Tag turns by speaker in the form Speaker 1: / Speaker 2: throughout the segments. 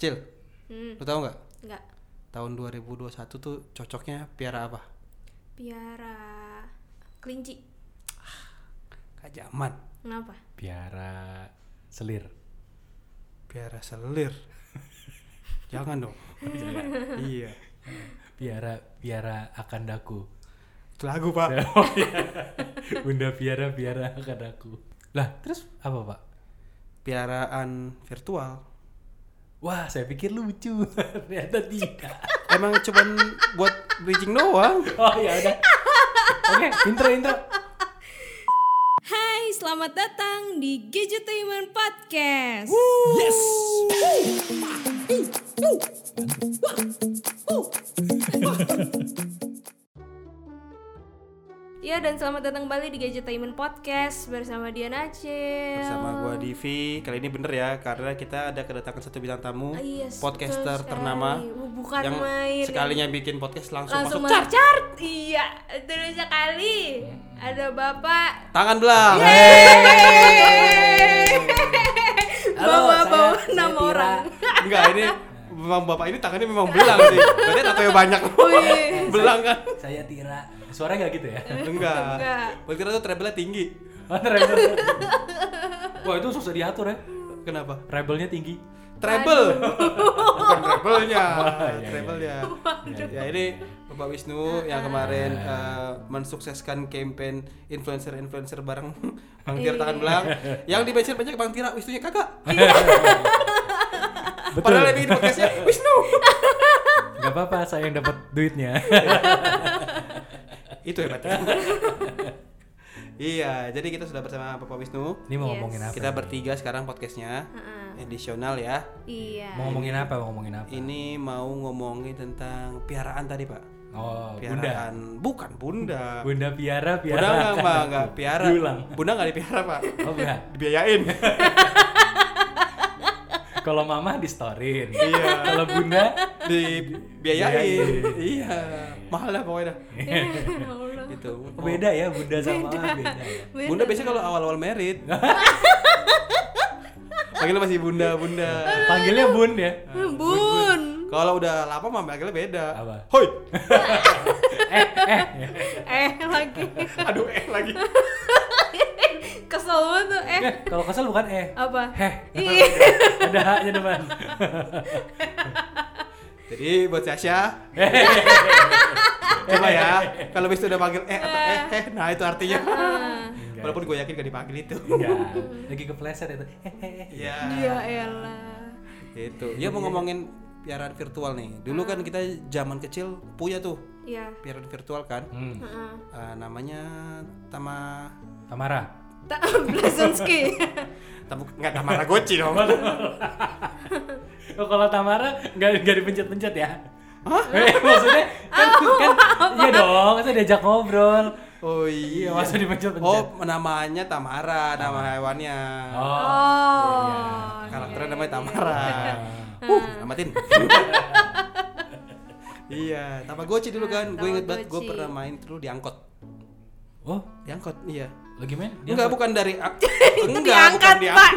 Speaker 1: Cil,
Speaker 2: Hmm,
Speaker 1: lu tahu nggak
Speaker 2: enggak.
Speaker 1: tahun 2021 tuh cocoknya piara apa?
Speaker 2: Piara kelinci.
Speaker 1: Kajaman,
Speaker 2: Kenapa?
Speaker 3: Piara selir.
Speaker 1: piara selir. Jangan dong. iya.
Speaker 3: Piara piara akandaku.
Speaker 1: Itu lagu, Pak.
Speaker 3: Oh, iya. Bunda piara piara akandaku. Lah, terus apa, Pak?
Speaker 1: Piaraan virtual.
Speaker 3: Wah, saya pikir lucu. Ternyata tidak.
Speaker 1: Emang cuman buat bridging doang.
Speaker 3: Oh, ya udah. Oke, intro intro.
Speaker 2: Hai, selamat datang di Gadgetainment Podcast.
Speaker 3: Yes.
Speaker 2: Iya dan selamat datang kembali di Gadgetainment Podcast bersama Diana Acil.
Speaker 1: Bersama gua Divi. Kali ini bener ya karena kita ada kedatangan satu bintang tamu,
Speaker 2: Ah, iya, betul
Speaker 1: podcaster
Speaker 2: sekali.
Speaker 1: ternama
Speaker 2: Wuh, bukan
Speaker 1: yang
Speaker 2: main.
Speaker 1: sekalinya bikin podcast langsung,
Speaker 2: langsung
Speaker 1: masuk chart.
Speaker 2: masuk chart. Iya, terus sekali. Ada Bapak
Speaker 1: Tangan belang.
Speaker 2: bawa-bawa nama orang.
Speaker 1: Enggak, ini memang bapak ini tangannya memang belang sih. Berarti tatonya banyak.
Speaker 2: Oh Wih.
Speaker 1: belang kan?
Speaker 3: Saya Tira. Suaranya nggak gitu ya?
Speaker 1: Enggak.
Speaker 2: Enggak.
Speaker 1: Berarti tuh treble tinggi.
Speaker 3: Oh, rebel. Wah, itu susah diatur ya.
Speaker 1: Kenapa?
Speaker 3: Rebelnya tinggi.
Speaker 1: Treble. Bukan treble-nya.
Speaker 3: iya,
Speaker 1: Treble-nya. Ya ini Bapak Wisnu yang kemarin eh, mensukseskan campaign influencer-influencer bareng Bang Tira tangan belang. Yang di mention banyak Bang Tira, Wisnunya kagak. Padahal yang bikin podcastnya Wisnu.
Speaker 3: Gak apa-apa, saya yang dapat duitnya.
Speaker 1: Itu hebatnya. iya, jadi kita sudah bersama Bapak Wisnu.
Speaker 3: Ini
Speaker 2: Yes.
Speaker 3: mau ngomongin apa?
Speaker 1: Kita
Speaker 3: nih?
Speaker 1: bertiga sekarang podcastnya edisional ya.
Speaker 2: Iya.
Speaker 3: Mau ngomongin apa? Mau ngomongin apa?
Speaker 1: Ini mau ngomongin tentang piaraan tadi pak.
Speaker 3: Oh, Bunda.
Speaker 1: Piaraan bukan bunda.
Speaker 3: Bunda Piara, Piara.
Speaker 1: Bunda nggak pak, nggak piara.
Speaker 3: Diulang.
Speaker 1: Bunda nggak dipiara pak.
Speaker 3: Oh, enggak.
Speaker 1: Dibiayain.
Speaker 3: Kalau mama di storin.
Speaker 1: Iya.
Speaker 3: Kalau Bunda
Speaker 1: Dibiayain.
Speaker 3: Biayain.
Speaker 1: iya. Mahal lah pokoknya. dah.
Speaker 2: Ya Allah.
Speaker 1: Gitu.
Speaker 3: oh, beda ya Bunda sama mama beda. ya.
Speaker 1: Bunda biasanya kalau awal-awal merit. Panggilnya masih bunda, bunda.
Speaker 3: Panggilnya Bun ya.
Speaker 2: Hmm, Bun.
Speaker 1: Kalau udah lama mah panggilnya beda.
Speaker 3: Apa?
Speaker 1: Hoi.
Speaker 3: Eh, eh.
Speaker 2: Eh lagi.
Speaker 1: Aduh eh lagi.
Speaker 2: Kesel banget tuh eh.
Speaker 3: Eh, Kalau kesel bukan eh.
Speaker 2: Apa?
Speaker 3: Heh.
Speaker 2: Iya.
Speaker 3: Ada haknya depan.
Speaker 1: Jadi buat Sasha Coba ya Kalau bis udah panggil eh atau eh, eh Nah itu artinya
Speaker 3: Enggak.
Speaker 1: Walaupun gue yakin gak dipanggil itu
Speaker 3: Enggak. Lagi kepleset itu. Eh, eh, eh.
Speaker 1: Iya
Speaker 2: Ya elah.
Speaker 1: Itu Ya mau ngomongin piaraan virtual nih Dulu kan kita zaman kecil punya tuh
Speaker 2: Iya.
Speaker 1: Piaraan virtual kan
Speaker 3: Hmm.
Speaker 2: Heeh.
Speaker 1: Eh, Namanya Tama
Speaker 3: Tamara.
Speaker 2: Tak Blazonski.
Speaker 1: Tamu Nggak Tamagotchi dong
Speaker 3: Oh, kalau Tamara nggak nggak dipencet-pencet ya? Hah? Eh, maksudnya kan, kan iya dong, saya diajak ngobrol.
Speaker 1: Oh
Speaker 3: Iya,
Speaker 1: iya
Speaker 3: masa dipencet-pencet.
Speaker 1: Oh namanya Tamara Nama hewannya
Speaker 3: Oh.
Speaker 2: Oh.
Speaker 1: Karakternya namanya Tamara. Uh,
Speaker 2: Ah.
Speaker 1: amatin. iya, Tamagotchi
Speaker 2: Ah,
Speaker 1: dulu kan. Gue inget banget gue
Speaker 2: Tamagotchi.
Speaker 1: pernah main dulu di angkot.
Speaker 3: Oh,
Speaker 1: Di angkot, iya.
Speaker 3: lagi main? Dia
Speaker 1: Enggak, bukan dari ak- iya. enggak,
Speaker 2: diangkat,
Speaker 1: bukan di
Speaker 2: Pak.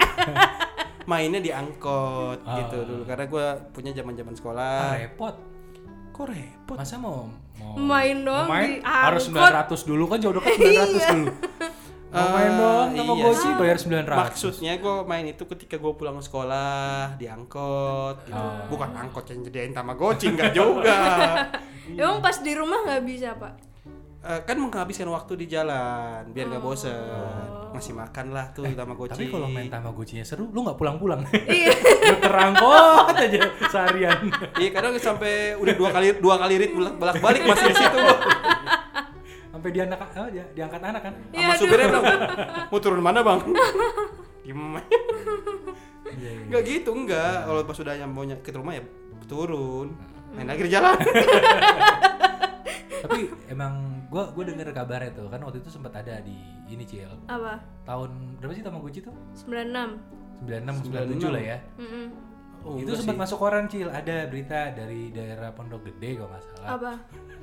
Speaker 1: Mainnya di angkot
Speaker 3: Ah.
Speaker 1: gitu dulu karena gue punya zaman-zaman
Speaker 3: Ah,
Speaker 1: sekolah.
Speaker 3: repot.
Speaker 1: Kok repot?
Speaker 3: Masa mau mau
Speaker 2: Main doang
Speaker 3: mau Oh. main?
Speaker 2: di
Speaker 3: harus
Speaker 2: angkot.
Speaker 3: 900 dulu kan jauh dekat 900 dulu. Mau main
Speaker 1: Iya. Eh,
Speaker 3: doang sama
Speaker 1: iya
Speaker 3: Goci
Speaker 1: sih.
Speaker 3: bayar 900.
Speaker 1: Maksudnya gue main itu ketika gue pulang ke sekolah di angkot, gitu.
Speaker 3: Ah.
Speaker 1: bukan angkot yang jadiin Tamagotchi enggak juga.
Speaker 2: Emang pas di rumah nggak bisa pak?
Speaker 1: Eh, kan menghabiskan waktu di jalan biar nggak bosen masih makan lah tuh sama goci
Speaker 3: Eh, Tapi kalau main Tamagotchi-nya seru, lu nggak pulang-pulang.
Speaker 2: Iya.
Speaker 3: Lu terangkot aja seharian.
Speaker 1: iya kadang sampai udah dua kali dua kali rit bolak balik balik masih di situ loh
Speaker 3: Sampai dia anak apa dia diangkat anak kan.
Speaker 2: Iya,
Speaker 1: sama
Speaker 2: aduh.
Speaker 1: supirnya bilang mau turun mana bang gimana
Speaker 3: Iya, iya.
Speaker 1: nggak gitu enggak kalau pas sudah nyampe nyampe ke rumah ya turun main lagi di jalan
Speaker 3: Tapi emang gua gua denger kabarnya tuh kan waktu itu sempat ada di ini Cil.
Speaker 2: Apa?
Speaker 3: Tahun berapa sih Tamagotchi tuh?
Speaker 2: 96
Speaker 3: 96 97 lah ya.
Speaker 2: Mm-mm.
Speaker 1: Oh,
Speaker 3: itu
Speaker 1: enggak
Speaker 3: sempat
Speaker 1: sih.
Speaker 3: masuk koran Cil, ada berita dari daerah Pondok Gede kalau nggak salah.
Speaker 2: Apa?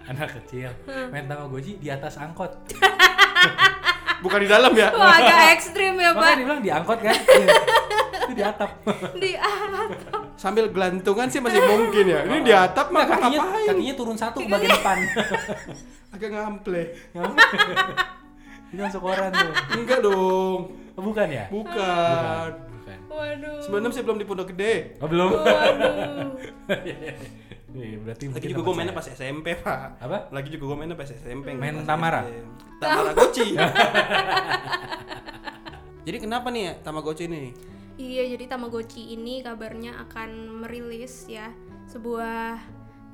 Speaker 3: Anak kecil
Speaker 1: Hmm.
Speaker 3: main Tamagotchi di atas angkot.
Speaker 1: bukan di dalam ya
Speaker 2: Wah agak ekstrim ya
Speaker 3: Makanya
Speaker 2: pak
Speaker 3: dibilang di angkot kan. Iya. itu di atap.
Speaker 2: Di atap
Speaker 1: sambil gelantungan sih masih mungkin ya. Ini di atap mah
Speaker 3: kakinya,
Speaker 1: ngapain?
Speaker 3: kakinya turun satu ke bagian depan.
Speaker 1: Agak ngample.
Speaker 3: Itu langsung koran tuh.
Speaker 1: Enggak dong.
Speaker 3: Oh, bukan ya?
Speaker 1: Bukan.
Speaker 3: Bukan.
Speaker 2: Waduh.
Speaker 1: 96 sih belum di Pondok Gede.
Speaker 3: Oh, belum.
Speaker 2: Waduh.
Speaker 3: Iya, berarti
Speaker 1: Lagi
Speaker 3: mungkin
Speaker 1: juga
Speaker 3: teman
Speaker 1: gue mainnya
Speaker 3: saya.
Speaker 1: pas SMP, Pak.
Speaker 3: apa?
Speaker 1: Lagi juga gue mainnya pas SMP. nggak
Speaker 3: Main
Speaker 1: pas
Speaker 3: Tamara?
Speaker 1: SD. Tamagotchi. Jadi kenapa nih ya Tamagotchi ini?
Speaker 2: Iya, jadi Tamagotchi ini kabarnya akan merilis ya sebuah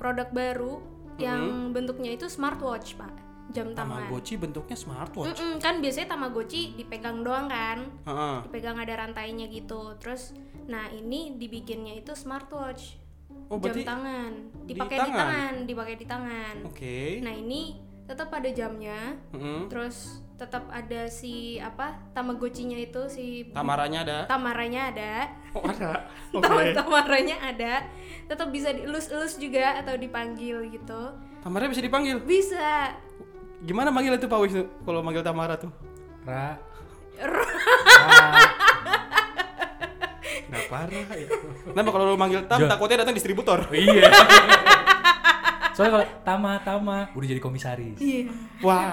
Speaker 2: produk baru yang bentuknya itu smartwatch, Pak. Jam tangan.
Speaker 1: Tamagotchi bentuknya smartwatch.
Speaker 2: Mm-mm, kan biasanya Tamagotchi dipegang doang kan?
Speaker 1: Heeh.
Speaker 2: Dipegang ada rantainya gitu. Terus nah ini dibikinnya itu smartwatch.
Speaker 1: Oh,
Speaker 2: jam
Speaker 1: berarti
Speaker 2: tangan.
Speaker 1: di
Speaker 2: Dipakai di
Speaker 1: tangan?
Speaker 2: tangan, dipakai di tangan.
Speaker 1: Oke. Hmm?
Speaker 2: Nah, ini tetap ada jamnya.
Speaker 1: Heeh.
Speaker 2: Terus tetap ada si apa? Tamagotchinya itu si
Speaker 1: Tamaranya ada.
Speaker 2: tamaranya ada.
Speaker 1: Oh, ada.
Speaker 2: Taman tamaranya ada tetap bisa dielus-elus juga atau dipanggil gitu
Speaker 1: Tamaranya bisa dipanggil.
Speaker 2: bisa
Speaker 1: Gimana manggil itu Pak Wisnu kalau manggil Tamara tuh?
Speaker 3: Ra.
Speaker 1: Nggak parah ya. Kenapa kalau lu manggil Tam takutnya datang distributor.
Speaker 3: Iya. Soalnya kalau Tama Tama udah jadi komisaris.
Speaker 2: iya
Speaker 1: Wah.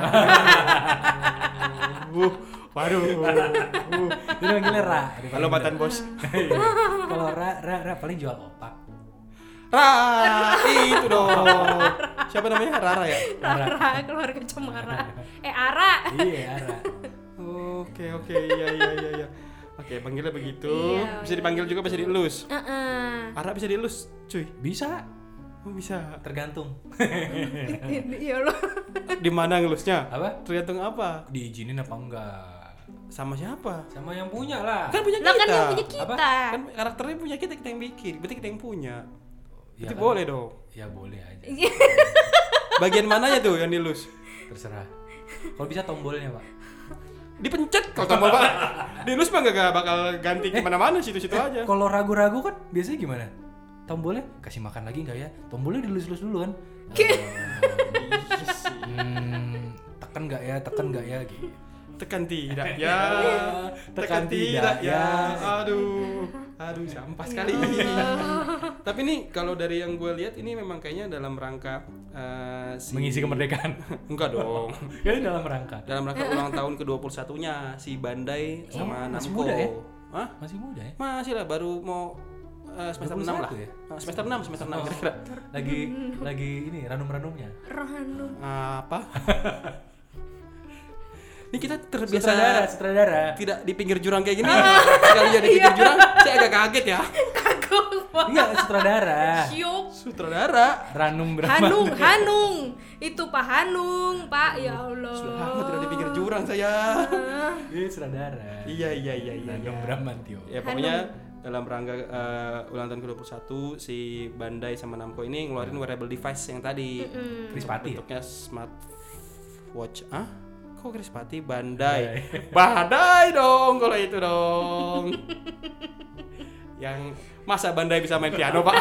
Speaker 1: Wuh, waduh. Wuh.
Speaker 3: Jadi manggilnya Ra.
Speaker 1: Halo mantan bos.
Speaker 3: Kalau Ra, Ra, Ra paling jual opak.
Speaker 1: Ra, itu dong. Siapa namanya? Rara ya?
Speaker 2: Rara keluarga Cemara eh Ara
Speaker 3: Iya, Ra.
Speaker 1: Oke, oke. Iya, iya, iya, iya. Oke, panggilnya begitu.
Speaker 2: Iya,
Speaker 1: Bisa dipanggil juga bisa dielus.
Speaker 2: Heeh.
Speaker 1: Ara bisa dielus, cuy.
Speaker 3: Bisa,
Speaker 1: Oh, bisa.
Speaker 3: tergantung.
Speaker 2: iya loh
Speaker 1: Eh, Di mana ngelusnya?
Speaker 3: Apa?
Speaker 1: Tergantung apa?
Speaker 3: Diizinin apa enggak?
Speaker 1: Sama siapa?
Speaker 3: Sama yang punya lah.
Speaker 1: Kan punya kita.
Speaker 2: lah kan yang punya kita
Speaker 1: Kan karakternya punya kita, kita yang bikin. Berarti kita yang punya.
Speaker 3: Ya
Speaker 1: Berarti
Speaker 3: kan?
Speaker 1: boleh dong.
Speaker 3: Ya boleh aja.
Speaker 1: Bagian mananya tuh yang dilus?
Speaker 3: Terserah. Kalau bisa tombolnya, Pak.
Speaker 1: Dipencet kalau tombol pak. Dilus mah gak, bakal ganti kemana-mana situ-situ aja.
Speaker 3: Kalau ragu-ragu kan biasanya gimana? Tombolnya kasih makan lagi nggak ya? Tombolnya dilus-lus dulu kan. Eh, hmm, tekan nggak ya? Tekan nggak ya? Gitu.
Speaker 1: Tekan tidak ya,
Speaker 3: Tekan tidak, ya.
Speaker 1: Aduh, aduh sampah sekali. Tapi nih kalau dari yang gue lihat ini memang kayaknya dalam rangka eh, si...
Speaker 3: Mengisi kemerdekaan.
Speaker 1: Enggak dong.
Speaker 3: Kan dalam rangka.
Speaker 1: Dalam rangka ulang tahun ke-21-nya si Bandai sama
Speaker 3: Eh, masih
Speaker 1: Namco.
Speaker 3: muda ya?
Speaker 1: Hah?
Speaker 3: Masih muda ya?
Speaker 1: Masih lah baru mau eh, semester 6 lah.
Speaker 3: 21 ya? Oh.
Speaker 1: Eh, semester 6, semester
Speaker 3: Nah,
Speaker 1: 6 kira-kira.
Speaker 3: Lagi lagi ini ranum-ranumnya.
Speaker 2: Rohanu
Speaker 1: apa? Ini kita terbiasa
Speaker 3: Sutradara, sutradara.
Speaker 1: tidak di pinggir jurang kayak gini. Sekali ya di pinggir jurang, saya agak kaget ya.
Speaker 2: kagum Pak.
Speaker 3: Enggak, Iya, sutradara.
Speaker 2: Syuk.
Speaker 1: Sutradara.
Speaker 3: Ranum berapa?
Speaker 2: Hanung Hanung itu Pak Hanung Pak ya
Speaker 1: Sudah
Speaker 2: Allah
Speaker 1: lama tidak di pinggir jurang saya. Ah,
Speaker 3: Iya, sutradara.
Speaker 1: iya iya iya iya.
Speaker 3: Ranum Bramantio.
Speaker 1: Ya pokoknya dalam rangka eh, ulang tahun ke-21 si Bandai sama Namco ini ngeluarin wearable device yang tadi.
Speaker 3: Krispati. ya?
Speaker 1: Bentuknya smart watch. Ah? Kok Krispati Bandai? Bandai dong kalau itu dong. yang masa Bandai bisa main piano, Pak?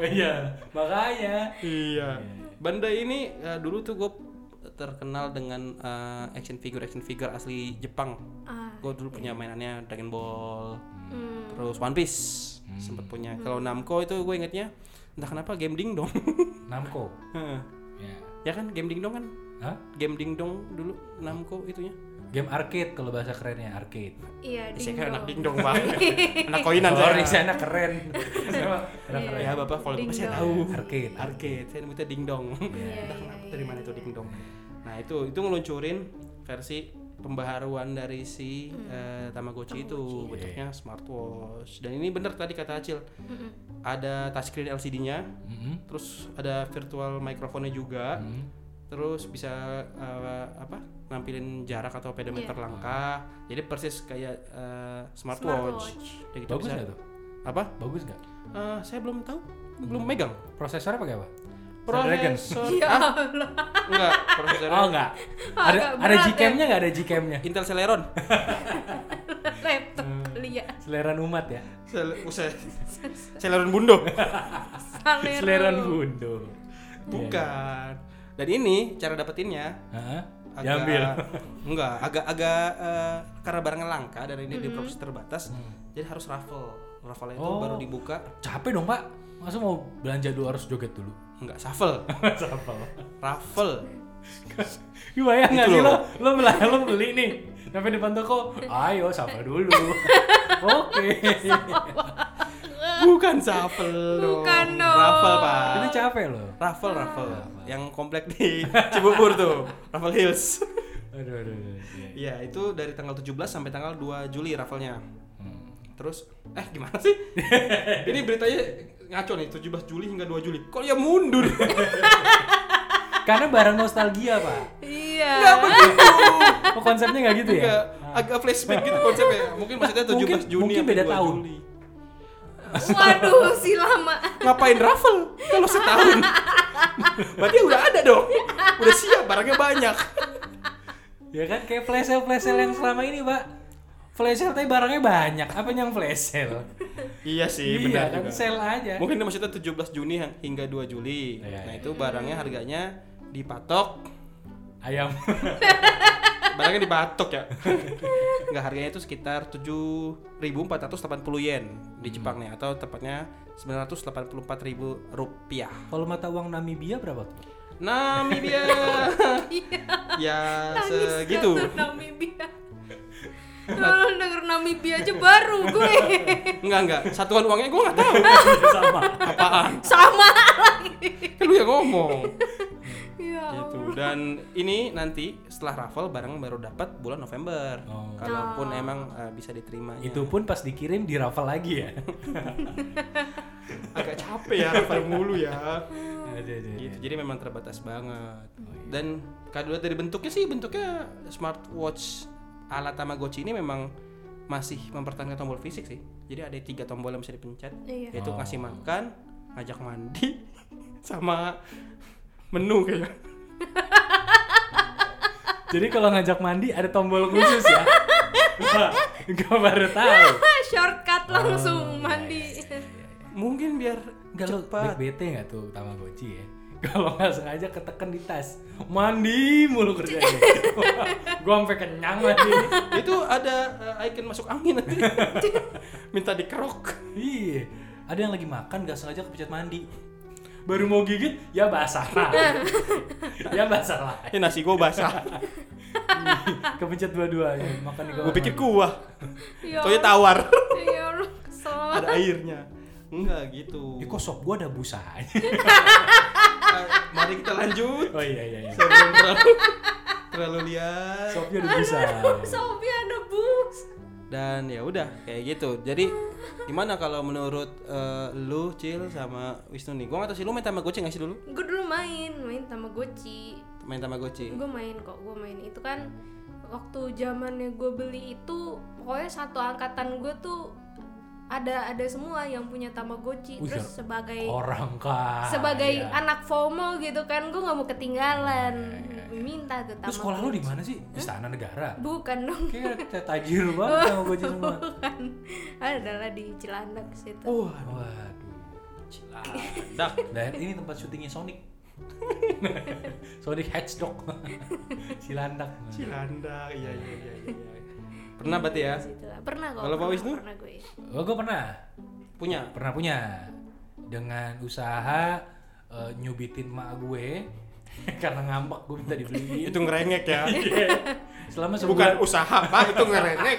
Speaker 3: Iya, makanya.
Speaker 1: iya. Bandai ini eh, dulu tuh gue terkenal dengan eh, action figure action figure asli Jepang.
Speaker 2: Ah,
Speaker 1: Gue dulu punya mainannya Dragon Ball,
Speaker 2: hmm.
Speaker 1: terus One Piece sempet punya. Kalau Namco itu gue ingetnya entah kenapa game ding dong.
Speaker 3: Namco. Ya.
Speaker 1: ya kan game ding dong kan?
Speaker 3: Hah?
Speaker 1: Game ding dong dulu Namco itunya.
Speaker 3: Game arcade kalau bahasa kerennya arcade.
Speaker 2: iya
Speaker 1: Saya kan
Speaker 2: dingdong
Speaker 1: anak ding dong banget. anak koinan
Speaker 3: Sorry,
Speaker 1: saya.
Speaker 3: saya anak keren. Sama
Speaker 2: Iya.
Speaker 3: anak keren.
Speaker 1: Ya bapak kalau bapak saya
Speaker 2: Ding
Speaker 1: tahu.
Speaker 3: Arcade.
Speaker 1: Arcade. Saya nyebutnya ding dong.
Speaker 2: Iya,
Speaker 1: Entah
Speaker 2: iya,
Speaker 1: kenapa dari mana itu ding dong. Nah itu itu ngeluncurin versi pembaharuan dari
Speaker 2: Hmm.
Speaker 1: si eh, Tamagotchi itu
Speaker 3: Iya.
Speaker 1: bentuknya smartwatch. Dan ini bener tadi kata Acil. Ada touchscreen LCD-nya,
Speaker 3: Mm-mm.
Speaker 1: terus ada virtual microphone-nya juga.
Speaker 3: Mm.
Speaker 1: Terus bisa eh, apa? nampilin jarak atau pedometer
Speaker 2: Iya.
Speaker 1: langkah. Jadi persis kayak eh, smartwatch.
Speaker 2: Smartwatch.
Speaker 1: Udah gitu
Speaker 3: Bagus
Speaker 1: bisa-
Speaker 3: nggak tuh?
Speaker 1: Apa?
Speaker 3: Bagus nggak?
Speaker 1: Eh, saya belum tahu, belum
Speaker 3: Hmm.
Speaker 1: megang.
Speaker 3: Prosesornya pakai apa? Snapdragon?
Speaker 1: Prosesor
Speaker 2: ya
Speaker 1: ah,
Speaker 2: Allah
Speaker 1: enggak, prosesor
Speaker 3: Oh enggak. Ada
Speaker 2: Agak
Speaker 3: ada
Speaker 2: berat ya.
Speaker 3: Gcam-nya enggak ada Gcam-nya?
Speaker 1: Intel Celeron.
Speaker 2: laptop
Speaker 1: Hmm.
Speaker 2: kali ya
Speaker 3: Seleran umat ya.
Speaker 1: Sel- usai- Celeron Bundo.
Speaker 3: Iya,
Speaker 2: Salero.
Speaker 3: Seleran bundo.
Speaker 1: Bukan. Dan ini cara dapetinnya
Speaker 3: Heeh.
Speaker 1: agak
Speaker 3: Diambil.
Speaker 1: enggak, agak agak eh, karena barangnya langka dan ini di proses terbatas. Jadi harus raffle. Raffle itu
Speaker 3: Hmm. Oh.
Speaker 1: baru dibuka
Speaker 3: Capek dong pak. Masa mau belanja dulu harus joget dulu?
Speaker 1: nggak shuffle
Speaker 3: Siapa lo?
Speaker 1: raffle
Speaker 3: Ih, bayang nggak
Speaker 1: Itu
Speaker 3: sih lo?
Speaker 1: loh.
Speaker 3: Lo beli, lo beli nih. Sampai depan toko, ayo sapa dulu. Oke.
Speaker 1: bukan shuffle dong.
Speaker 2: Bukan dong.
Speaker 1: raffle pak
Speaker 3: Itu capek lo.
Speaker 1: raffle raffle yang komplek di Cibubur tuh raffle hills
Speaker 3: Aduh, aduh, aduh.
Speaker 1: Iya,
Speaker 3: Iya.
Speaker 1: itu dari tanggal 17 sampai tanggal 2 Juli raffle-nya. Terus eh gimana sih? Ini beritanya ngaco nih 17 Juli hingga 2 Juli. Kok ya mundur?
Speaker 3: Karena barang nostalgia pak.
Speaker 2: Iya.
Speaker 1: Enggak begitu.
Speaker 3: Oh, konsepnya nggak gitu
Speaker 1: Enggak,
Speaker 3: ya?
Speaker 1: agak flashback gitu konsepnya. Iya. Mungkin maksudnya 17
Speaker 3: Mungkin-
Speaker 1: Juni
Speaker 3: mungkin
Speaker 1: sampai
Speaker 3: beda
Speaker 1: 2
Speaker 3: tahun.
Speaker 1: Juli.
Speaker 2: Waduh, si lama.
Speaker 1: Ngapain raffle kalau setahun? Berarti udah ada dong. Udah siap barangnya banyak.
Speaker 3: Ya kan kayak flash sale flash sale yang selama ini pak. Flash sale tapi barangnya banyak. Apa yang flash sale?
Speaker 1: Iya sih,
Speaker 3: iya
Speaker 1: benar
Speaker 3: kan
Speaker 1: juga.
Speaker 3: sale aja.
Speaker 1: Mungkin maksudnya 17 Juni hingga 2 Juli.
Speaker 3: Iya,
Speaker 1: Nah,
Speaker 3: iya.
Speaker 1: itu barangnya harganya dipatok
Speaker 3: Ayam.
Speaker 1: barangnya dibatok ya nggak harganya itu sekitar 7.480 yen
Speaker 3: Hmm.
Speaker 1: di Jepang nih atau tepatnya 984.000 rupiah
Speaker 3: Kalau mata uang Namibia berapa tuh?
Speaker 1: Namibia
Speaker 2: Iya.
Speaker 1: ya
Speaker 2: Nangis
Speaker 1: segitu
Speaker 2: jatuh Namibia. Kalau denger Namibia aja baru gue.
Speaker 1: nggak nggak satuan uangnya gue nggak tahu
Speaker 3: Sama.
Speaker 1: apaan
Speaker 2: Sama lagi.
Speaker 1: kan lu yang ngomong
Speaker 2: Ya.
Speaker 1: gitu
Speaker 3: Oh.
Speaker 1: dan ini nanti setelah raffle barang baru dapat bulan November
Speaker 3: Oh.
Speaker 1: kalaupun emang eh, bisa diterima
Speaker 3: Itu pun pas dikirim di raffle lagi ya.
Speaker 1: agak capek ya raffle mulu ya
Speaker 3: Aduh, aduh, aduh.
Speaker 1: gitu jadi memang terbatas banget dan kalau dilihat dari bentuknya sih bentuknya smartwatch ala Tamagotchi ini memang masih mempertahankan tombol fisik sih jadi ada tiga tombol yang bisa dipencet
Speaker 2: Iya.
Speaker 1: yaitu
Speaker 3: Oh.
Speaker 1: ngasih makan ngajak mandi sama menu kayaknya
Speaker 3: Jadi kalau ngajak mandi ada tombol khusus ya. Wah, Gua baru tahu.
Speaker 2: Shortcut langsung mandi.
Speaker 1: mungkin biar
Speaker 3: Enggak lo
Speaker 1: cepat
Speaker 3: bete nggak tuh Tamagotchi ya? Kalau nggak sengaja ketekan di tas, mandi mulu kerjanya. Wah, gua sampai kenyang mandi.
Speaker 1: itu ada eh, icon masuk angin nanti minta dikerok
Speaker 3: Iya, ada yang lagi makan nggak sengaja kepencet mandi. Baru mau gigit, ya basah lah. ya basah lah.
Speaker 1: ini nasi gue basah
Speaker 3: Kepencet dua-duanya, makan di kamar
Speaker 1: gue pikir
Speaker 3: mandi.
Speaker 1: kuah
Speaker 2: Ya.
Speaker 1: soalnya tawar
Speaker 2: Ya Allah, kesel.
Speaker 1: ada airnya enggak gitu
Speaker 3: Ya kok sop gua ada busanya.
Speaker 1: Eh, mari kita lanjut
Speaker 3: oh iya iya iya.
Speaker 1: sebelum terlalu terlalu liar
Speaker 3: Sopnya ada busa.
Speaker 2: Sobi ada bus.
Speaker 1: dan ya udah kayak gitu jadi gimana kalau menurut eh, lu cil sama Wisnu nih gua nggak tahu sih lu main tamagotchi nggak sih dulu
Speaker 2: Gue dulu main, main Tamagotchi.
Speaker 1: main tamagotchi
Speaker 2: Gue main kok, gue main itu kan waktu zamannya gue beli itu pokoknya satu angkatan gue tuh ada ada semua yang punya Tamagotchi.
Speaker 3: Wih,
Speaker 2: Terus
Speaker 3: ya.
Speaker 2: sebagai
Speaker 3: Orang kan.
Speaker 2: sebagai
Speaker 3: Iya.
Speaker 2: anak FOMO gitu kan, gue nggak mau ketinggalan. Minta tuh Tamagotchi.
Speaker 3: Terus sekolah iya, lu di mana sih? Istana Negara.
Speaker 2: Bukan dong.
Speaker 3: Kayak kayak tajir banget sama gua semua.
Speaker 2: Bukan. Adalah di Cilandak situ.
Speaker 3: Oh. Waduh. Cilah.
Speaker 1: dah
Speaker 3: Dan ini tempat syutingnya Sonic. Sonic Hedgehog. Cilandak.
Speaker 1: cilanda iya iya iya iya pernah berarti ya
Speaker 2: Situ lah. Pernah kok.
Speaker 1: Kalau Pak
Speaker 2: pernah-
Speaker 1: Wisnu?
Speaker 2: Pernah gue.
Speaker 3: Oh, gue pernah.
Speaker 1: punya
Speaker 3: pernah punya dengan usaha eh, nyubitin mak gue karena ngambek gue minta dibeliin
Speaker 1: itu ngerengek ya
Speaker 3: selama
Speaker 1: bukan
Speaker 3: sebulan
Speaker 1: usaha pak itu ngerengek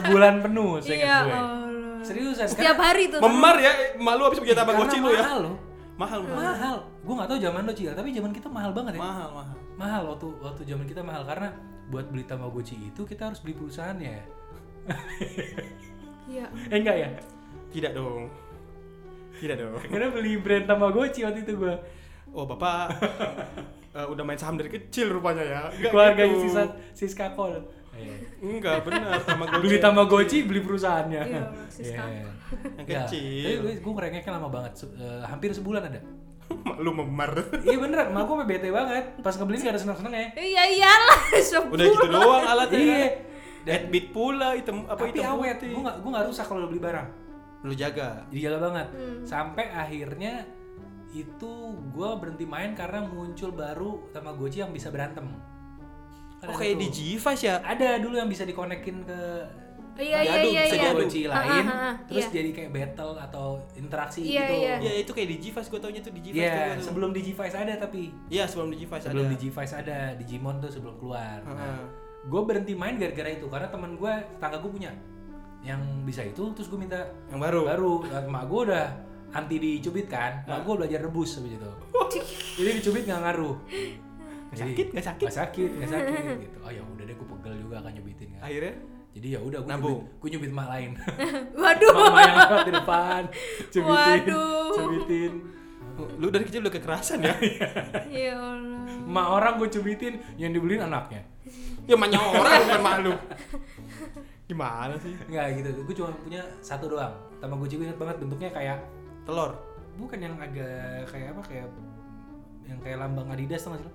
Speaker 3: sebulan penuh saya
Speaker 2: Iya
Speaker 3: gue
Speaker 2: Allah.
Speaker 3: seriusan
Speaker 2: Setiap hari tuh.
Speaker 1: memar ya malu abis punya tamagotchi lu ya
Speaker 3: mahal loh
Speaker 1: mahal mahal
Speaker 3: mahal gue nggak tahu zaman lo cil tapi zaman kita mahal banget ya
Speaker 1: mahal mahal
Speaker 3: mahal waktu waktu zaman kita mahal karena buat beli tamagotchi itu kita harus beli ya. perusahaannya
Speaker 2: Iya.
Speaker 3: eh enggak ya
Speaker 1: tidak dong tidak dong
Speaker 3: karena beli brand tamagotchi waktu itu gue
Speaker 1: Oh bapak eh, udah main saham dari kecil rupanya ya. Nggak
Speaker 3: keluarganya
Speaker 1: gitu.
Speaker 3: sisa siska kol Eh.
Speaker 1: Enggak benar sama
Speaker 3: beli Tamagotchi beli perusahaannya.
Speaker 2: Iya, Maxis
Speaker 3: Iya.
Speaker 2: Kakak.
Speaker 1: Yang
Speaker 3: Ya,
Speaker 1: kecil.
Speaker 3: Tapi gue, gue ngerengeknya lama banget, se- eh, hampir sebulan ada.
Speaker 1: Lu memar.
Speaker 3: Iya beneran, malah gue bete banget. Pas ngebeliin gak ada seneng-seneng ya.
Speaker 2: Iya iyalah. sebulan.
Speaker 1: Udah gitu doang alatnya.
Speaker 3: Iya.
Speaker 1: Dan beat pula item apa
Speaker 3: Tapi
Speaker 1: item
Speaker 3: awet,
Speaker 1: putih.
Speaker 3: gue gak, gue gak rusak kalau beli barang.
Speaker 1: Lu jaga.
Speaker 3: Jadi jaga banget.
Speaker 2: Hmm.
Speaker 3: Sampai akhirnya itu gue berhenti main karena muncul baru Tamagotchi yang bisa berantem. Kan
Speaker 1: Oh
Speaker 3: ada
Speaker 1: kayak
Speaker 3: tuh.
Speaker 1: di G5 ya.
Speaker 3: Ada dulu yang bisa dikonekin ke
Speaker 2: Iya iya
Speaker 1: Diadu,
Speaker 2: iya
Speaker 1: bisa
Speaker 2: iya.
Speaker 1: diadu.
Speaker 3: Tamagotchi lain,
Speaker 2: Ah, ah, ah,
Speaker 3: terus
Speaker 2: iya.
Speaker 3: jadi kayak battle atau interaksi
Speaker 2: Iya,
Speaker 3: gitu.
Speaker 2: iya.
Speaker 1: Ya itu kayak Digivice gue taunya tuh Digivice
Speaker 3: Iya,
Speaker 1: tuh gua tuh.
Speaker 3: sebelum Digivice ada tapi
Speaker 1: gitu. Iya, sebelum Digivice
Speaker 3: sebelum
Speaker 1: ada.
Speaker 3: Digivice ada, Digimon tuh sebelum keluar.
Speaker 1: Ah,
Speaker 3: Nah,
Speaker 1: ah.
Speaker 3: gue berhenti main gara-gara itu karena teman gue, tetangga gue punya yang bisa itu, terus gue minta
Speaker 1: Yang baru.
Speaker 3: baru. Nah, Mak gue udah anti dicubit kan,
Speaker 1: Ah.
Speaker 3: mak gue belajar rebus habis itu. Jadi dicubit nggak ngaruh. Jadi,
Speaker 1: sakit, nggak sakit.
Speaker 3: Nggak sakit, nggak sakit gitu. Oh ya udah deh, gue pegel juga akan nyubitin kan.
Speaker 1: Akhirnya
Speaker 3: Jadi ya udah gue
Speaker 1: Nabung.
Speaker 3: nyubit, gue nyubit mak lain.
Speaker 2: Waduh.
Speaker 3: Mama yang lewat di depan, cubitin,
Speaker 2: Waduh.
Speaker 3: cubitin.
Speaker 1: lu dari kecil udah kekerasan ya.
Speaker 2: ya Allah.
Speaker 3: Mak orang gue cubitin, yang dibeliin anaknya.
Speaker 1: ya manya orang bukan malu. Gimana sih?
Speaker 3: Enggak gitu, gue cuma punya satu doang. Sama gue inget banget bentuknya kayak
Speaker 1: Telur.
Speaker 3: bukan yang agak kayak apa kayak yang kayak lambang Adidas tuh sih lo?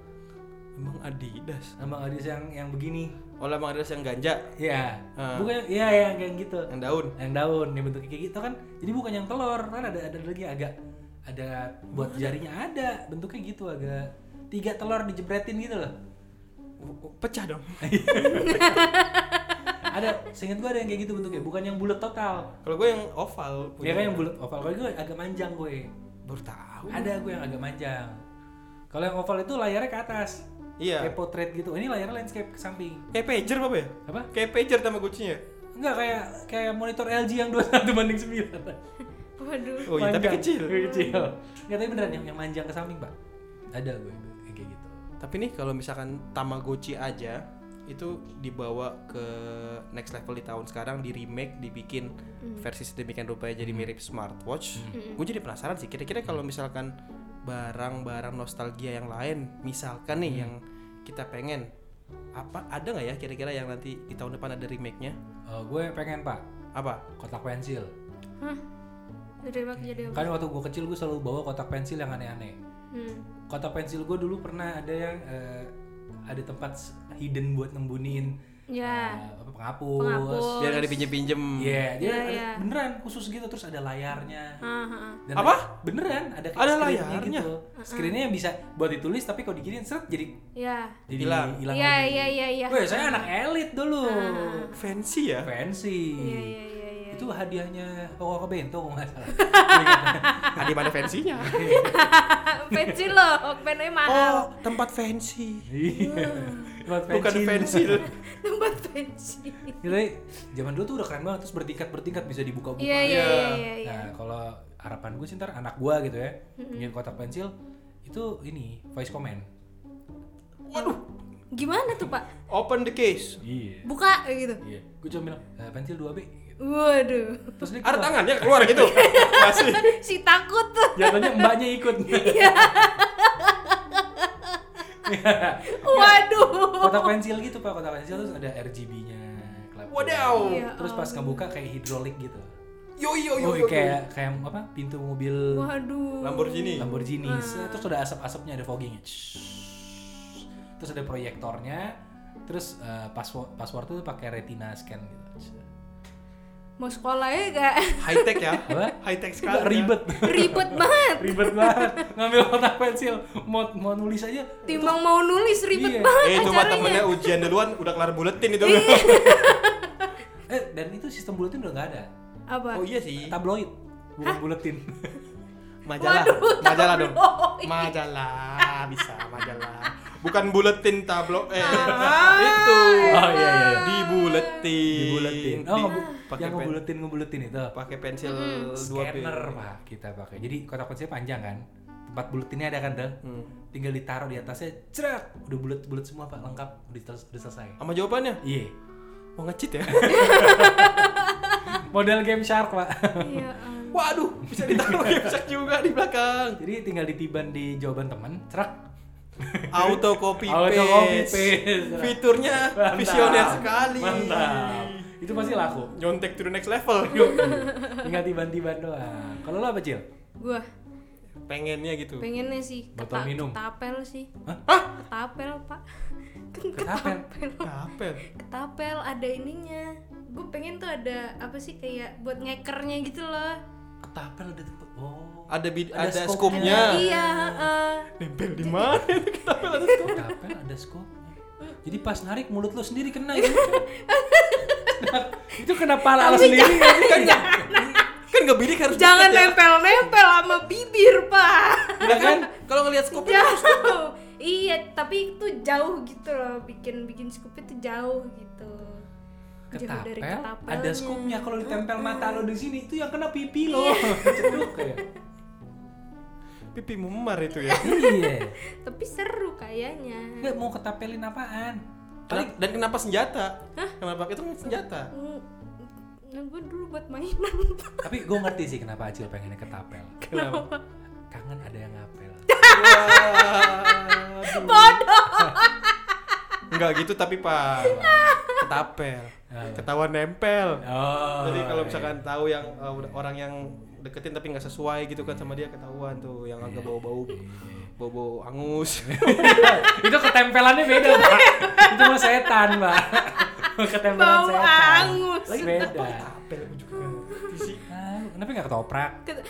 Speaker 1: Emang Adidas.
Speaker 3: Lambang Adidas yang yang begini.
Speaker 1: Oh, emang Adidas yang ganja,
Speaker 3: Ya,
Speaker 1: Ah.
Speaker 3: bukan ya yang kayak gitu.
Speaker 1: yang daun.
Speaker 3: Yang daun, yang bentuknya kayak gitu kan. Jadi bukan yang telur, kan ada ada lagi agak ada buat jarinya ada bentuknya gitu agak tiga telur dijebretin gitu loh.
Speaker 1: Pecah dong.
Speaker 3: ada seinget gue ada yang kayak gitu bentuknya bukan yang bulat total
Speaker 1: Kalau gue yang oval
Speaker 3: dia kan yang bulat oval kalau gue agak manjang gue
Speaker 1: baru tahu.
Speaker 3: ada gue yang agak manjang kalau yang oval itu layarnya ke atas
Speaker 1: Iya.
Speaker 3: kayak portrait gitu ini layarnya landscape ke samping
Speaker 1: Kayak pager apa ya?
Speaker 3: apa
Speaker 1: Kayak pager sama kucingnya.
Speaker 3: enggak kayak kayak monitor LG yang 21 banding 9
Speaker 2: Waduh.
Speaker 1: Oh iya, tapi
Speaker 3: Manjang.
Speaker 1: kecil.
Speaker 3: kecil enggak tapi beneran yang, yang manjang ke samping pak ada gue yang kayak gitu
Speaker 1: Tapi nih kalau misalkan Tamagotchi aja itu dibawa ke next level di tahun sekarang di remake dibikin versi sedemikian rupanya jadi mirip smartwatch. Gue jadi penasaran sih kira-kira kalau misalkan barang-barang nostalgia yang lain misalkan nih yang kita pengen apa ada nggak ya kira-kira yang nanti di tahun depan ada remake-nya?
Speaker 3: Eh, gue pengen pak
Speaker 1: Apa?
Speaker 3: kotak pensil
Speaker 2: Hah. Jadi apa jadi apa?
Speaker 3: kan waktu gue kecil gue selalu bawa kotak pensil yang aneh-aneh
Speaker 2: Hmm.
Speaker 3: kotak pensil gue dulu pernah ada yang eh, ada tempat s- hidden buat nembuniin
Speaker 2: Ya.
Speaker 3: eh, apa, penghapus.
Speaker 2: Penghapus.
Speaker 1: Biar nggak dipinjem-pinjem.
Speaker 3: Iya, dia
Speaker 2: Iya,
Speaker 3: ada-
Speaker 2: iya.
Speaker 3: beneran khusus gitu terus ada layarnya.
Speaker 2: Ah, ah, ah.
Speaker 3: Dan
Speaker 1: Apa?
Speaker 3: ada- beneran ada kayak
Speaker 1: Ada
Speaker 3: screen-nya
Speaker 1: layarnya?
Speaker 3: Gitu. Screennya yang bisa buat ditulis tapi kalau diginiin seret jadi
Speaker 2: Ya.
Speaker 3: jadi
Speaker 1: Hilang.
Speaker 3: hilang.
Speaker 2: Iya
Speaker 3: lagi.
Speaker 2: iya iya iya. Ah.
Speaker 3: Weh, saya anak elit dulu.
Speaker 1: Fancy ya.
Speaker 3: Fancy.
Speaker 2: Iya iya iya iya.
Speaker 3: Itu hadiahnya Koko ke Bento kalau nggak salah.
Speaker 1: Ada mana fancy-nya?
Speaker 2: Pensil loh, pennya
Speaker 1: Oh,
Speaker 2: mahal.
Speaker 1: tempat fancy.
Speaker 3: Iya. Buat
Speaker 1: Bukan
Speaker 3: pensil.
Speaker 1: pensil.
Speaker 2: Tempat pensil.
Speaker 3: Jadi zaman dulu tuh udah keren banget terus bertingkat bertingkat bisa dibuka-buka.
Speaker 2: Iya iya
Speaker 1: Iya.
Speaker 2: iya iya, iya.
Speaker 3: Nah, kalau harapan gue sih ntar anak gue gitu ya, bikin kotak pensil itu ini voice comment.
Speaker 1: Waduh,
Speaker 2: Gimana tuh, Pak?
Speaker 1: open the case.
Speaker 3: Iya.
Speaker 2: Buka gitu.
Speaker 3: Iya. Gue cuma bilang "Eh, pensil 2 b.
Speaker 2: Waduh.
Speaker 3: Terus dia
Speaker 1: Ada
Speaker 3: keluar.
Speaker 1: tangannya keluar gitu. Masih.
Speaker 2: si takut tuh.
Speaker 3: Jatuhnya mbaknya ikut.
Speaker 2: Iya. Waduh.
Speaker 3: kotak pensil gitu pak, kotak pensil terus ada RGB-nya. kelap-
Speaker 1: Wadaw.
Speaker 2: Iya.
Speaker 3: Terus pas ngebuka kayak hidrolik gitu.
Speaker 1: Yo yo yo
Speaker 3: Oh,
Speaker 1: yo.
Speaker 3: kayak kayak apa? Pintu mobil
Speaker 2: Waduh.
Speaker 1: Lamborghini.
Speaker 3: Lamborghini. Set, Terus ada asap-asapnya, ada foggingnya. Shhh. Terus ada proyektornya. Terus eh, password password tuh pakai retina scan gitu.
Speaker 2: Mau sekolah ya gak?
Speaker 1: High tech ya.
Speaker 3: Apa?
Speaker 1: High tech sekali.
Speaker 3: Nggak,
Speaker 1: ya.
Speaker 3: ribet.
Speaker 2: Ribet banget.
Speaker 3: ribet banget. Ngambil kotak pensil, mau mau nulis aja.
Speaker 2: Timbang mau nulis
Speaker 3: Iya.
Speaker 2: ribet banget
Speaker 1: Eh cuma
Speaker 2: acaranya.
Speaker 1: temennya ujian duluan udah kelar buletin itu.
Speaker 3: Eh, dan itu sistem buletin udah nggak ada.
Speaker 2: Apa?
Speaker 1: oh iya sih.
Speaker 3: Tabloid, bukan buletin.
Speaker 1: Majalah.
Speaker 2: Waduh,
Speaker 1: majalah dong.
Speaker 2: tabloid.
Speaker 1: Majalah bisa majalah. Bukan buletin tablo eh
Speaker 2: Ah,
Speaker 1: itu.
Speaker 3: Oh, iya, iya, iya.
Speaker 1: Dibuletin.
Speaker 3: Dibuletin. Oh,
Speaker 1: Di-
Speaker 3: ngebu-
Speaker 1: pakai
Speaker 3: yang
Speaker 1: pen,
Speaker 3: ngebuletin ngebuletin itu.
Speaker 1: pakai pensil dua B.
Speaker 3: Scanner pak kita pakai. Jadi kotak pensil panjang kan. Tempat buletinnya ada kan tuh.
Speaker 1: Hmm.
Speaker 3: Tinggal ditaruh di atasnya, cerak, udah bulet-bulet semua pak, lengkap, udah, sel- udah selesai.
Speaker 1: Sama jawabannya.
Speaker 3: Iya.
Speaker 1: Mau ngecit ya.
Speaker 3: Model game shark pak.
Speaker 2: Iya. ah.
Speaker 1: Waduh, bisa ditaruh kepsek juga di belakang.
Speaker 3: Jadi tinggal ditiban di jawaban teman, cerak.
Speaker 1: Auto copy paste.
Speaker 3: Auto copy paste.
Speaker 1: Fiturnya
Speaker 3: Mantap.
Speaker 1: visioner sekali.
Speaker 3: Mantap. Itu pasti laku.
Speaker 1: Nyontek to the next level.
Speaker 3: Tinggal tiban-tiban doang. Kalau lo apa cil?
Speaker 2: Gua
Speaker 1: Pengennya gitu.
Speaker 2: pengennya sih
Speaker 3: Botol minum.
Speaker 2: ketapel sih.
Speaker 3: Hah?
Speaker 2: Ketapel, Pak. Kan
Speaker 3: Ketapel?
Speaker 2: ketapel.
Speaker 1: Kapel.
Speaker 2: Ketapel ada ininya. Gue pengen tuh ada apa sih kayak buat ngekernya gitu loh.
Speaker 3: Ketapel ada tempat. Oh.
Speaker 1: Ada bid- ada
Speaker 3: scoop-nya.
Speaker 1: Ah. scoopnya.
Speaker 2: Iya, heeh.
Speaker 1: Nempel di mana? Kapel ada
Speaker 3: Ketapel ada scoop. Jadi pas narik mulut lo sendiri kena gitu. itu kena pala lo sendiri
Speaker 1: kan nggak kan nggak bidik harus
Speaker 2: Jangan
Speaker 3: Iya.
Speaker 1: deket
Speaker 2: nempel-nempel sama bibir, Pak.
Speaker 1: ya. Iya kan kalau ngelihat scoopnya
Speaker 2: Jauh. iya, tapi itu jauh gitu loh. Bikin bikin scoop itu jauh gitu. Jauh dari
Speaker 3: ketapel
Speaker 2: ketapelnya.
Speaker 3: ada scoopnya kalau ditempel mata lo di sini itu yang kena pipi lo ceduk ya. kayak
Speaker 1: pipi memar itu ya
Speaker 3: iya
Speaker 2: Tapi seru kayaknya.
Speaker 3: nggak mau ketapelin apaan
Speaker 1: Kena- dan kenapa senjata kenapa itu kan senjata
Speaker 2: Mm, Nah, gue dulu buat mainan. Pak.
Speaker 3: tapi gue ngerti sih kenapa Acil pengennya ketapel
Speaker 1: kenapa
Speaker 3: kangen ada yang ngapel
Speaker 1: bodoh nggak gitu tapi pak ketapel
Speaker 3: Ah.
Speaker 1: ketahuan nempel
Speaker 3: oh
Speaker 1: Jadi kalau misalkan tahu yang uh, udah- orang yang deketin tapi nggak sesuai gitu kan sama dia ketahuan tuh yang agak bau-bau
Speaker 3: Oh, iya.
Speaker 1: bau-bau angus.
Speaker 3: itu ketempelannya beda pak itu mah setan pak ketempelan
Speaker 2: Bau
Speaker 3: setan
Speaker 2: angus.
Speaker 3: lagi beda
Speaker 1: Apel aku juga.
Speaker 3: Ah, lu kenapa nggak ketoprak
Speaker 2: Ket-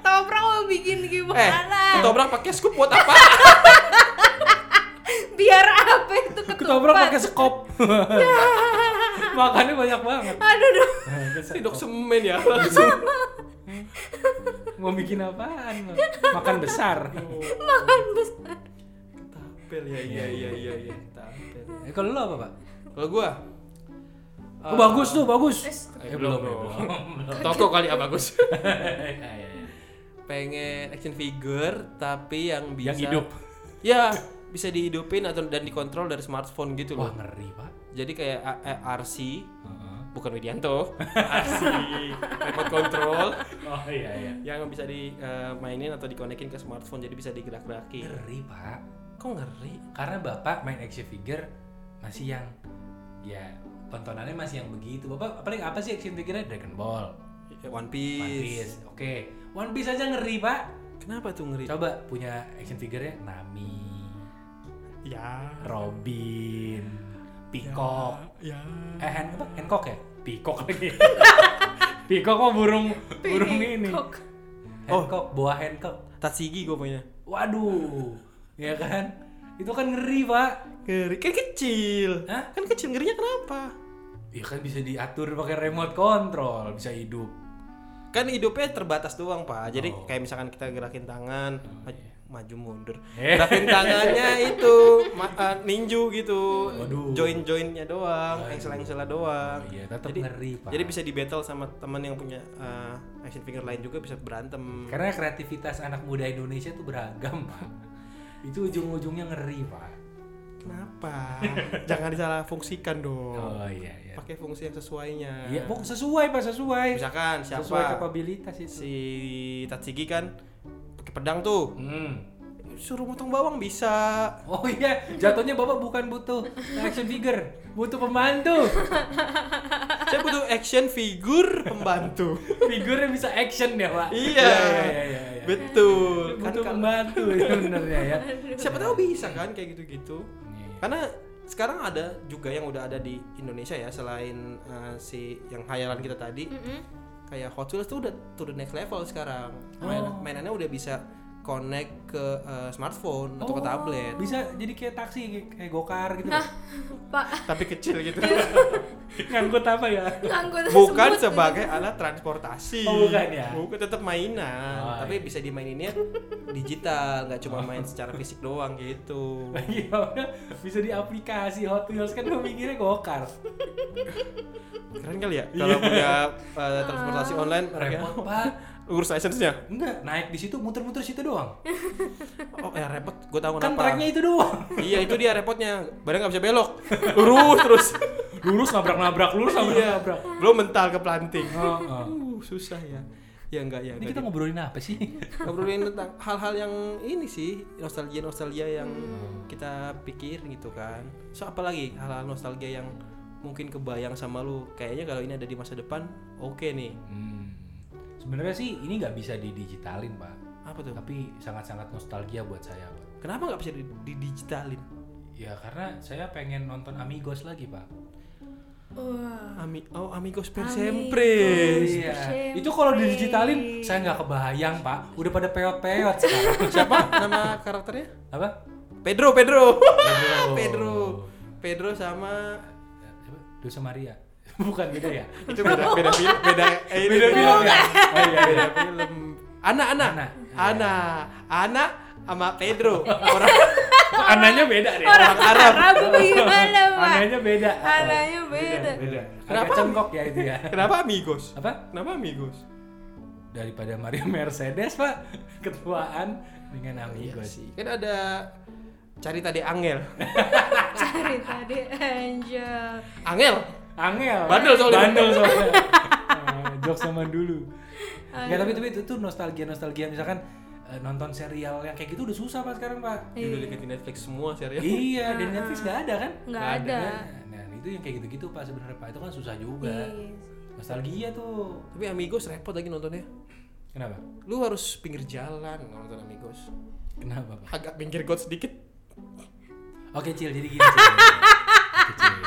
Speaker 2: Ketoprak mau bikin
Speaker 1: Eh,
Speaker 2: gimana?
Speaker 1: ketobrak pakai scoop buat apa?
Speaker 2: Biar apa itu
Speaker 3: ketoprak
Speaker 2: ketupat?
Speaker 3: pakai skop makannya banyak banget
Speaker 2: Aduh, aduh.
Speaker 3: Eh.
Speaker 1: Tidok semen ya.
Speaker 3: mau bikin apaan lu? makan besar
Speaker 2: makan besar.
Speaker 1: Ketapel ya iya iya iya iya ketapel.
Speaker 3: Eh, kalau lu apa pak
Speaker 1: Kalau gua
Speaker 3: oh, bagus tuh bagus
Speaker 2: Terus
Speaker 1: Eh, belum, Toko kali ah bagus. Pengen action figure tapi yang bisa
Speaker 3: Yang hidup.
Speaker 1: Ya, bisa dihidupin atau dan dikontrol dari smartphone gitu
Speaker 3: wah
Speaker 1: loh.
Speaker 3: ngeri pak
Speaker 1: Jadi kayak eh, A- A- RC bukan Widianto, RC remote control
Speaker 3: oh iya iya
Speaker 1: yang bisa dimainin atau dikonekin ke smartphone jadi bisa digerak-gerakin.
Speaker 3: ngeri pak
Speaker 1: Kok ngeri?
Speaker 3: karena bapak main action figure masih yang ya tontonannya masih yang begitu bapak paling apa sih action figure Dragon Ball
Speaker 1: One
Speaker 3: One
Speaker 1: Piece.
Speaker 3: Piece oke One Piece aja ngeri pak
Speaker 1: Kenapa tuh ngeri?
Speaker 3: coba punya action figure nya Nami
Speaker 1: Ya,
Speaker 3: Robin Peacock
Speaker 1: ya.
Speaker 3: eh Han apa Hancock ya Peacock lagi Peacock mah burung burung ini
Speaker 2: Peacock.
Speaker 3: Hancock buah Hancock
Speaker 1: Tatsigi gue punya.
Speaker 3: waduh ya kan itu kan ngeri pak
Speaker 1: Ngeri. Kan kecil.
Speaker 3: Hah?
Speaker 1: Kan kecil ngerinya kenapa?
Speaker 3: Ya kan bisa diatur pakai remote control, bisa hidup.
Speaker 1: Kan hidupnya terbatas doang, Pak. Jadi
Speaker 3: Oh.
Speaker 1: kayak misalkan kita gerakin tangan, ma- maju mundur.
Speaker 3: iya. Eh.
Speaker 1: Gerakin tangannya itu ma- eh, ninju gitu.
Speaker 3: Waduh.
Speaker 1: Join-joinnya doang, engsel-engselnya doang.
Speaker 3: Oh iya, tetap ngeri, Pak.
Speaker 1: Jadi bisa di battle sama teman yang punya eh, action figure lain juga bisa berantem.
Speaker 3: Karena kreativitas anak muda Indonesia tuh beragam, Pak. Itu ujung-ujungnya ngeri, Pak.
Speaker 1: Kenapa? Jangan disalahfungsikan dong.
Speaker 3: Oh iya iya.
Speaker 1: Pakai fungsi yang sesuainya.
Speaker 3: Iya, pokok sesuai, Pak, sesuai.
Speaker 1: Misalkan
Speaker 3: Sesuai
Speaker 1: siapa
Speaker 3: kapabilitas itu.
Speaker 1: si Tatsigi kan pakai pedang tuh.
Speaker 3: Hmm.
Speaker 1: Suruh motong bawang bisa.
Speaker 3: Oh iya, jatuhnya Bapak bukan butuh action figure, butuh pembantu.
Speaker 1: Saya butuh action figure pembantu.
Speaker 3: Figurnya bisa action ya, Pak.
Speaker 1: iya.
Speaker 3: iya, iya, iya.
Speaker 1: Betul. Kan
Speaker 3: Butuh
Speaker 1: kalau-
Speaker 3: pembantu sebenarnya ya.
Speaker 1: siapa tahu bisa kan kayak gitu-gitu.
Speaker 3: Iya, iya.
Speaker 1: Karena sekarang ada juga yang udah ada di Indonesia ya selain eh, si yang khayalan kita tadi.
Speaker 2: Mm-mm.
Speaker 1: Kayak Hot Wheels tuh udah to the next level sekarang. Main-
Speaker 3: Oh.
Speaker 1: mainannya udah bisa connect ke eh, smartphone atau ke
Speaker 3: Oh,
Speaker 1: tablet.
Speaker 3: Bisa jadi kayak taksi, kayak- kayak gokar gitu.
Speaker 2: Nah, Pak,
Speaker 1: Tapi kecil gitu.
Speaker 3: Ngangkut apa ya?
Speaker 2: ngangkut
Speaker 1: bukan
Speaker 2: tersebut.
Speaker 1: sebagai alat transportasi.
Speaker 3: Oh, bukan ya?
Speaker 1: Bukan tetap mainan,
Speaker 3: Oh,
Speaker 1: tapi bisa dimaininnya digital, nggak cuma main secara fisik doang gitu.
Speaker 3: Iya, udah bisa di aplikasi Hot Wheels kan gue mikirnya gokar.
Speaker 1: Keren kali ya kalau punya uh, transportasi online pakai-
Speaker 3: Iya. Repot pak.
Speaker 1: urus license-nya.
Speaker 3: Ya. Enggak, naik di situ muter-muter situ doang.
Speaker 1: Oh, ya repot. Gue tahu
Speaker 3: Kan
Speaker 1: kenapa.
Speaker 3: tracknya Eh, itu doang.
Speaker 1: Iya, itu dia repotnya. Badan nggak bisa belok. Lurus terus.
Speaker 3: Lurus nabrak-nabrak, lurus
Speaker 1: iya,
Speaker 3: nabrak-nabrak.
Speaker 1: belum mental ke pelanting.
Speaker 3: Oh, oh.
Speaker 1: Uh, susah ya. Ya enggak ya.
Speaker 3: Ini
Speaker 1: nggak
Speaker 3: kita
Speaker 1: gitu.
Speaker 3: ngobrolin apa sih?
Speaker 1: ngobrolin tentang hal-hal yang ini sih nostalgia nostalgia yang kita pikir gitu kan so apalagi hal-hal nostalgia yang mungkin kebayang sama lu kayaknya kalau ini ada di masa depan oke nih
Speaker 3: Hmm. Sebenarnya sih ini nggak bisa didigitalin pak.
Speaker 1: apa tuh
Speaker 3: Tapi sangat-sangat nostalgia buat saya pak.
Speaker 1: kenapa nggak bisa di- didigitalin
Speaker 3: Ya karena saya pengen nonton Amigos lagi pak.
Speaker 2: Wah.
Speaker 1: Ami oh amigos per
Speaker 2: Amigos.
Speaker 1: sempre
Speaker 2: Siempre.
Speaker 3: Itu kalau didigitalin saya nggak kebayang pak. Udah pada peot-peot sekarang.
Speaker 1: siapa nama karakternya
Speaker 3: apa?
Speaker 1: Pedro Pedro
Speaker 3: Pedro.
Speaker 1: Pedro Pedro sama
Speaker 3: Siapa? Dosa Maria. Bukan beda ya?
Speaker 1: itu beda beda film beda eh, ini beda
Speaker 3: film ya?
Speaker 1: Oh iya beda film. Ana Ana
Speaker 3: Ana.
Speaker 1: Ana Ana sama Pedro orang ananya beda deh orang Arab
Speaker 2: Arab gimana pak?
Speaker 3: Anehnya beda. Oh,
Speaker 2: Ananya beda.
Speaker 1: beda
Speaker 3: Agak
Speaker 1: kenapa
Speaker 3: cengkok ya itu ya.
Speaker 1: kenapa amigos
Speaker 3: Apa?
Speaker 1: kenapa amigos
Speaker 3: Daripada Mario Mercedes, Pak. Ketuaan dengan amigos.
Speaker 1: sih kan ada Carita de Angel
Speaker 2: Cari tadi Angel.
Speaker 1: Angel
Speaker 3: Angel.
Speaker 1: Bandel soalnya.
Speaker 3: Bandel soalnya. Eh, Jokes zaman dulu. Nggak, tapi tapi itu tuh nostalgia nostalgia misalkan eh, nonton serial yang kayak gitu udah susah pak sekarang pak.
Speaker 1: udah deketin Netflix semua ya? serial
Speaker 3: Iya, di Netflix nggak ada kan?
Speaker 2: Ya. Nggak
Speaker 1: Nggak
Speaker 2: ada.
Speaker 3: Nah, nah, itu yang kayak gitu-gitu pak sebenarnya pak itu kan susah juga.
Speaker 2: Iya.
Speaker 3: Nostalgia tuh.
Speaker 1: tapi amigos repot lagi nontonnya
Speaker 3: Kenapa?
Speaker 1: lu harus pinggir jalan kalau nonton amigos
Speaker 3: Kenapa pak?
Speaker 1: agak pinggir got sedikit
Speaker 3: Oke cil, jadi gini cil. Oke, Cil.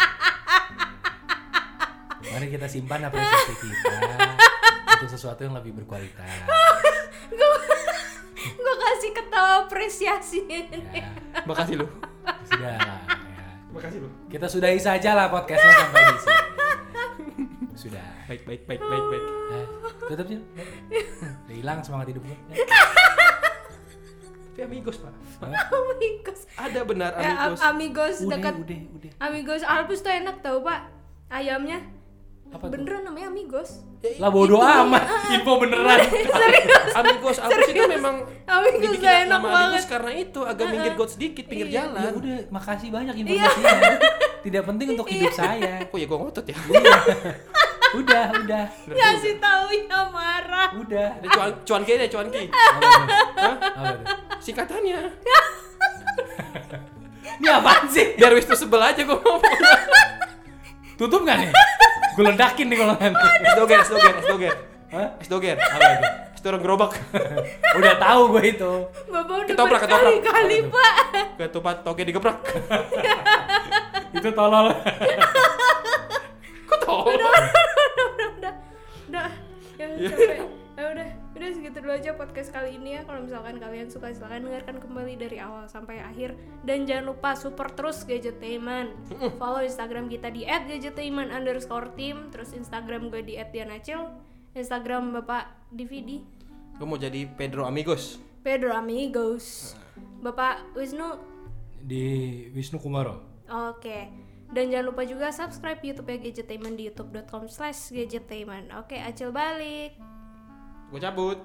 Speaker 3: Mari kita simpan apresiasi kita untuk sesuatu yang lebih berkualitas. ya.
Speaker 2: Gue kasih ketawa apresiasi.
Speaker 3: Ya,
Speaker 1: makasih lu
Speaker 3: sudah lah. Ya.
Speaker 1: makasih lu
Speaker 3: Kita sudahi saja lah podcastnya sampai di sini. Sudah.
Speaker 1: baik baik baik baik baik
Speaker 3: Ya, tetap sih. Udah hilang semangat hidup gue.
Speaker 1: tapi amigos pak
Speaker 2: Amigos.
Speaker 1: ada benar
Speaker 2: Eh, am-
Speaker 1: amigos
Speaker 2: amigos
Speaker 3: Ya. Udah,
Speaker 2: dekat
Speaker 3: udah, udah.
Speaker 2: Amigos Alpus tuh enak tau pak ayamnya
Speaker 3: Apa tuh?
Speaker 2: beneran namanya Amigos
Speaker 1: Ya,
Speaker 3: Lah bodo amat. Info beneran.
Speaker 2: serius
Speaker 1: amigos amigos itu memang
Speaker 2: Amigos
Speaker 1: dibikin
Speaker 2: tuh enak
Speaker 1: nama
Speaker 2: banget
Speaker 1: amigos karena itu agak minggir got sedikit pinggir
Speaker 3: Ya
Speaker 1: jalan
Speaker 3: udah, makasih banyak informasinya. Tidak penting untuk hidup saya.
Speaker 1: kok ya gua ngotot ya
Speaker 3: Udah, udah.
Speaker 2: ngasih taunya marah
Speaker 3: Udah.
Speaker 1: Ada cuan cuan ki deh cuan ki
Speaker 3: Apa tuh? Apa tuh?
Speaker 1: singkatannya
Speaker 3: Ini apaan sih?
Speaker 1: biar wis sebel aja gua ngomong
Speaker 3: Tutup nggak nih? Gue ledakin nih kalau nanti.
Speaker 1: es doger es doger es doger
Speaker 3: Hah?
Speaker 1: es doger
Speaker 3: Apa itu?
Speaker 1: es dorong gerobak
Speaker 3: Udah tahu gue itu.
Speaker 2: bapak udah
Speaker 1: Ketoprak, ketoprak.
Speaker 2: berkali-kali pak
Speaker 1: ketupat toge digebrak
Speaker 3: Itu tolol.
Speaker 1: kok tau
Speaker 2: udah udah udah udah udah ya
Speaker 1: Oh, Iya.
Speaker 2: capek ya udah udah segitu dulu aja podcast kali ini ya kalau misalkan kalian suka silahkan dengarkan kembali dari awal sampai akhir dan jangan lupa super terus gadgetainment follow instagram kita di @gadgetainment underscore team terus instagram gue di @dianacil instagram bapak dvd
Speaker 1: gua mau jadi Pedro amigos
Speaker 2: pedro amigos bapak wisnu
Speaker 3: Di Wisnu Kumaro.
Speaker 2: Oke. Dan jangan lupa juga subscribe YouTube ya Gadgetainment di youtube.com slash gadgetainment. Oke, acil balik.
Speaker 1: gua cabut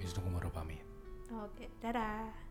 Speaker 3: Wisnu Kumaro pamit.
Speaker 2: Oke, dadah.